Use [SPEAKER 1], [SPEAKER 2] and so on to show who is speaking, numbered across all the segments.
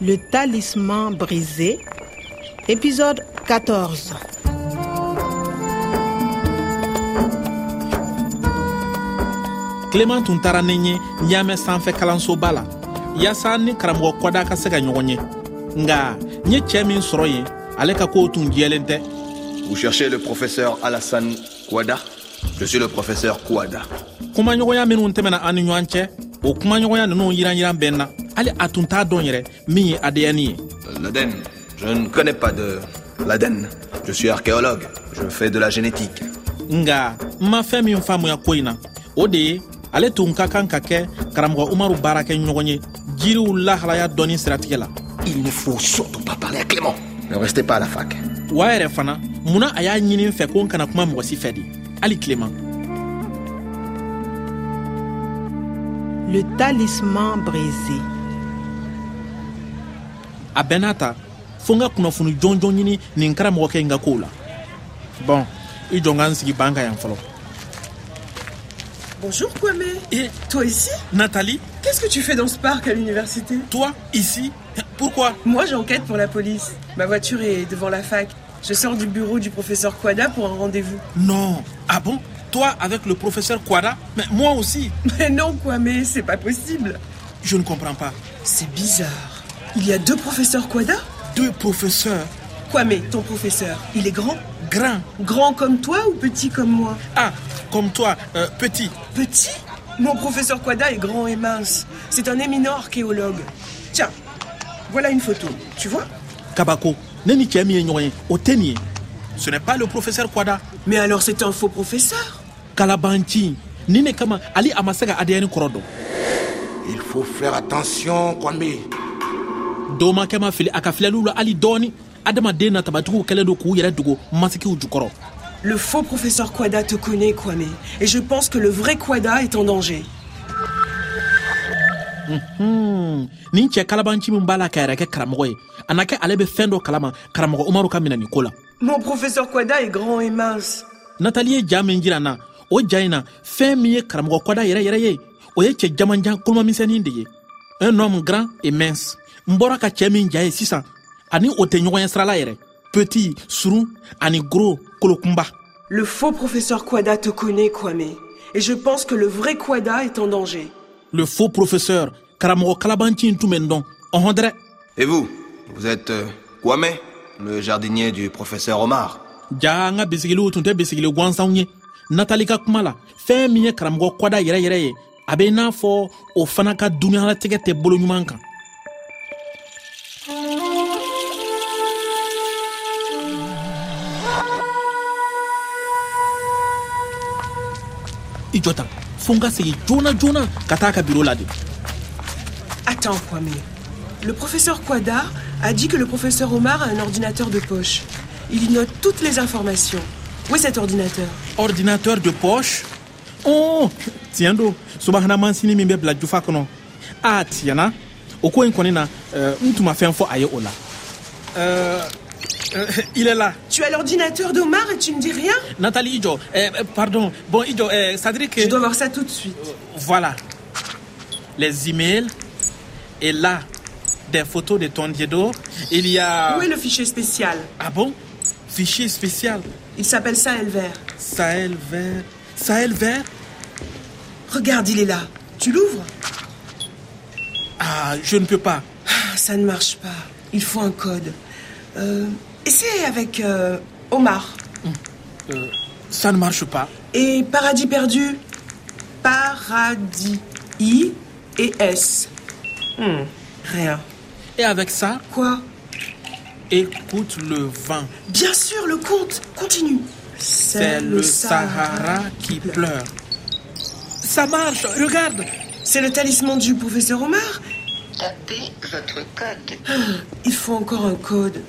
[SPEAKER 1] Le talisman brisé, épisode 14.
[SPEAKER 2] kileman tun taara ni n ye ɲaamɛ sanfɛ kalansoba la yaasa n ni karamɔgɔ kɔda ka se ka ɲɔgɔn ye nga n ye cɛɛ min sɔrɔ yen ale ka koow tun jɛlen tɛ
[SPEAKER 3] Vous cherchez le professeur Alassane Kouada Je suis le professeur Kouada.
[SPEAKER 2] kumaɲɔgɔnya minw tɛmɛna an ni ɲɔgɔn cɛ o kumaɲɔgɔnya ninnu yiranyiran bɛ n na hali a tun t'a dɔn yɛrɛ min ye adeyani ye
[SPEAKER 3] L'Aden. Je ne connais pas de l'Aden. Je suis archéologue. Je fais de la génétique.
[SPEAKER 2] nga n ma fɛn min faamuya ko in na o de ye ale tun ka kan ka kɛ karamɔgɔ umaru baarakɛ ɲɔgɔn ye jiriw lahalaya dɔɔni siratigɛ la
[SPEAKER 3] Il ne faut surtout pas parler à Clément. Ne restez pas à la fac.
[SPEAKER 2] wa yɛrɛ fana munna a y'a ɲini n fɛ ko n kana kuma mɔgɔ si fɛ de hali kileman
[SPEAKER 1] Le talisman brisé.
[SPEAKER 2] a bɛɛ n'a ta fo n ka kunnafoni jɔnjɔn ɲini nin karamɔgɔkɛ in ka kow la bɔn i jɔn ka n sigi ban ka yan fɔlɔ
[SPEAKER 4] Bonjour Kwame.
[SPEAKER 2] Eh,
[SPEAKER 4] Et toi ici
[SPEAKER 2] natali
[SPEAKER 4] Qu'est-ce que tu fais dans ce parc à l'université
[SPEAKER 2] toi ici pourquoi
[SPEAKER 4] Moi j'enquête pour la police. Ma voiture est devant la fac. Je sors du bureau du professeur Kwada pour un rendez-vous.
[SPEAKER 2] non ah bon toi avec le professeur Kwada mais moi aussi
[SPEAKER 4] Mais non Kwame, c'est pas possible.
[SPEAKER 2] je ne comprends pas
[SPEAKER 4] C'est bizarre. Il y a deux professeurs Kwada
[SPEAKER 2] deux professeurs
[SPEAKER 4] Kwame, ton professeur, il est grand
[SPEAKER 2] grands
[SPEAKER 4] Grand comme toi ou petit comme moi
[SPEAKER 2] ah comme toi euh, petit
[SPEAKER 4] Petit Mon professeur Kwada est grand et mince. C'est un éminent archéologue. Tiens, voilà une photo. Tu vois
[SPEAKER 2] kabako ne ni cɛɛ min ye ɲɔgɔn ye o tɛ nin ye ce n'est pas le professeur Kwada
[SPEAKER 4] Mais alors c'est un faux professeur
[SPEAKER 2] kalabanci nin de kama hali a ma se ka ADN kɔrɔ dɔn
[SPEAKER 5] Il faut faire attention, Kwame.
[SPEAKER 2] dɔw ma kɛ ma fili a ka filɛliw la hali dɔɔni adamaden na tabatigiw kɛlen don k'u yɛrɛ dogo masikiw jukɔrɔ
[SPEAKER 4] Le faux professeur Quada te connaît, Kwame, et je pense que le vrai Quada est en danger.
[SPEAKER 2] nin cɛ kalabanci min b'a la ka yɛrɛ kɛ karamɔgɔ ye a na kɛ ale bɛ fɛn dɔ kalama karamɔgɔ umaru ka minɛni ko la
[SPEAKER 4] Mon professeur Quada est grand et mince.
[SPEAKER 2] natali ye ja min jira n na o ja in na fɛn min ye karamɔgɔ kɔda yɛrɛ yɛrɛ ye o ye cɛ jamanjan kolomamisɛnnin de ye un homme grand et mince n bɔra ka cɛɛ min ja ye sisan ani o tɛ ɲɔgɔn ye sirala yɛrɛ petit surun ani gros kolokunba
[SPEAKER 4] Le faux professeur Quada te connaît, Kwame, et je pense que le vrai Quada est en danger.
[SPEAKER 2] le faux professeur karamɔgɔ kalabanci in tun bɛ n dɔn ɔhɔn dɛrɛ
[SPEAKER 3] Et vous Vous êtes euh, Kwame, le jardinier du professeur Omar.
[SPEAKER 2] ja an ka bisigiliw tun tɛ bisigili gwansanw ye natali ka kuma la fɛn min ye karamɔgɔ kɔda yɛrɛyɛrɛ ye a bɛ i n'a fɔ o fana ka duniyalatigɛ tɛ boloɲuman kan i jɔ tan fo n ka segin joona joona ka taa a ka biro lade
[SPEAKER 4] Attends, Kwame. Le professeur Quada a dit que le professeur Omar a un ordinateur de poche. Il y note toutes les informations. Où est cet ordinateur
[SPEAKER 2] ordinateur de poche oh tiɲɛ do subahana mansini min bɛ bila jufa Ah, kɔnɔ a tiɲɛna o ko in kɔni na euh, n tun ma fɛn fɔ a ye o la Euh, euh, il est là
[SPEAKER 4] Tu as l'ordinateur d'Omar et tu ne dis rien
[SPEAKER 2] nathalie i jɔ Euh, euh, pardon bon i jɔ euh, c'est à dire que
[SPEAKER 4] Je dois voir ça tout de suite.
[SPEAKER 2] voilà les emails et là des photos de ton diedo il y a
[SPEAKER 4] Où est le fichier spécial
[SPEAKER 2] ah bon fichier spécial
[SPEAKER 4] Il s'appelle ça, Elver.
[SPEAKER 2] sahel vert sahel vert
[SPEAKER 4] Regarde, il est là. Tu l'ouvres
[SPEAKER 2] ah je ne peux pas
[SPEAKER 4] Ah, Ça ne marche pas. Il faut un code. Euh, essaie avec euh, Omar.
[SPEAKER 2] Euh, ça ne marche pas
[SPEAKER 4] Et Paradis perdu. Paradis. I et S. Hmm, rien.
[SPEAKER 2] Et avec ça,
[SPEAKER 4] Quoi
[SPEAKER 2] écoute le vent.
[SPEAKER 4] Bien sûr, le compte. Continue.
[SPEAKER 2] C'est le Sahara qui pleure. Ça marche, regarde.
[SPEAKER 4] C'est le talisman du professeur Omar
[SPEAKER 6] Tapez votre code.
[SPEAKER 4] Il faut encore un code.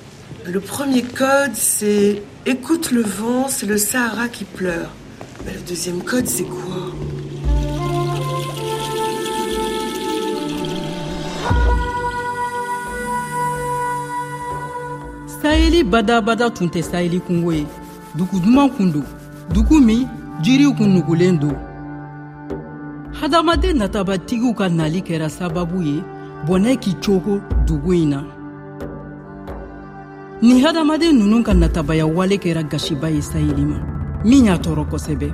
[SPEAKER 4] Le premier code, c'est Écoute le vent, c'est le Sahara qui pleure. Mais le deuxième code, c'est quoi
[SPEAKER 7] sayeli badabada tun tɛ sayeli kungo ye dugu duman kun don dugu min jiriw kun nugulen don hadamaden natabatigiw ka nali kɛra sababu ye bɔnɛ k'i cogo dugu in na nin hadamaden ninnu ka natabaya wale kɛra gasiba ye sayeli ma min y'a tɔɔrɔ kosɛbɛ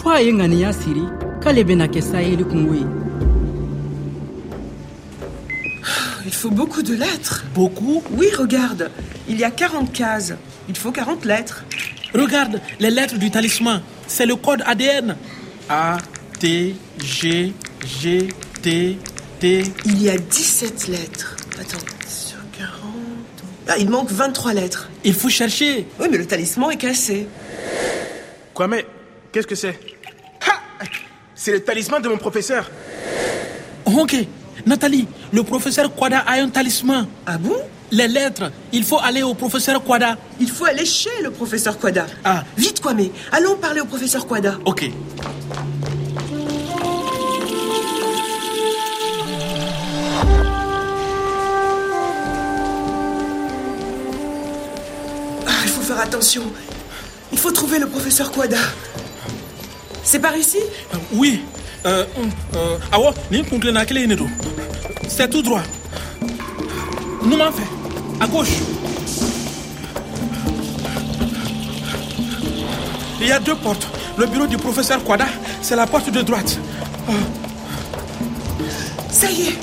[SPEAKER 7] fɔ a ye ŋaniya siri k'ale bena kɛ sayeli kungo ye
[SPEAKER 4] Il faut beaucoup de lettres.
[SPEAKER 2] Beaucoup
[SPEAKER 4] Oui, regarde, il y a 40 cases. Il faut 40 lettres.
[SPEAKER 2] Regarde les lettres du talisman. C'est le code ADN. A, T, G, G, T, T.
[SPEAKER 4] Il y a 17 lettres. Attends, sur 40. Ah, il manque 23 lettres.
[SPEAKER 2] Il faut chercher.
[SPEAKER 4] Oui, mais le talisman est cassé.
[SPEAKER 8] Quoi mais Qu'est-ce que c'est Ha C'est le talisman de mon professeur.
[SPEAKER 2] Ok. Nathalie, le professeur Kwada a un talisman.
[SPEAKER 4] Ah bon
[SPEAKER 2] Les lettres, il faut aller au professeur Kwada.
[SPEAKER 4] Il faut aller chez le professeur Quada.
[SPEAKER 2] Ah.
[SPEAKER 4] Vite, Kwame, allons parler au professeur Quada.
[SPEAKER 2] Ok.
[SPEAKER 4] Ah, il faut faire attention. Il faut trouver le professeur Quada. C'est par ici
[SPEAKER 2] Euh, Oui. Euh, hum, euh, ah ouais, ni kunkle na kile inedo. C'est tout droit. Nous m'en fait. À gauche. Il y a deux portes. Le bureau du professeur Kwada, c'est la porte de droite.
[SPEAKER 4] Ça y est,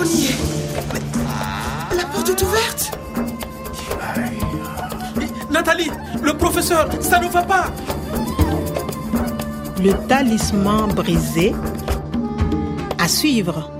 [SPEAKER 4] on y est. Mais la porte est ouverte
[SPEAKER 2] Nathalie, le professeur, ça ne va pas.
[SPEAKER 1] Le talisman brisé. À suivre.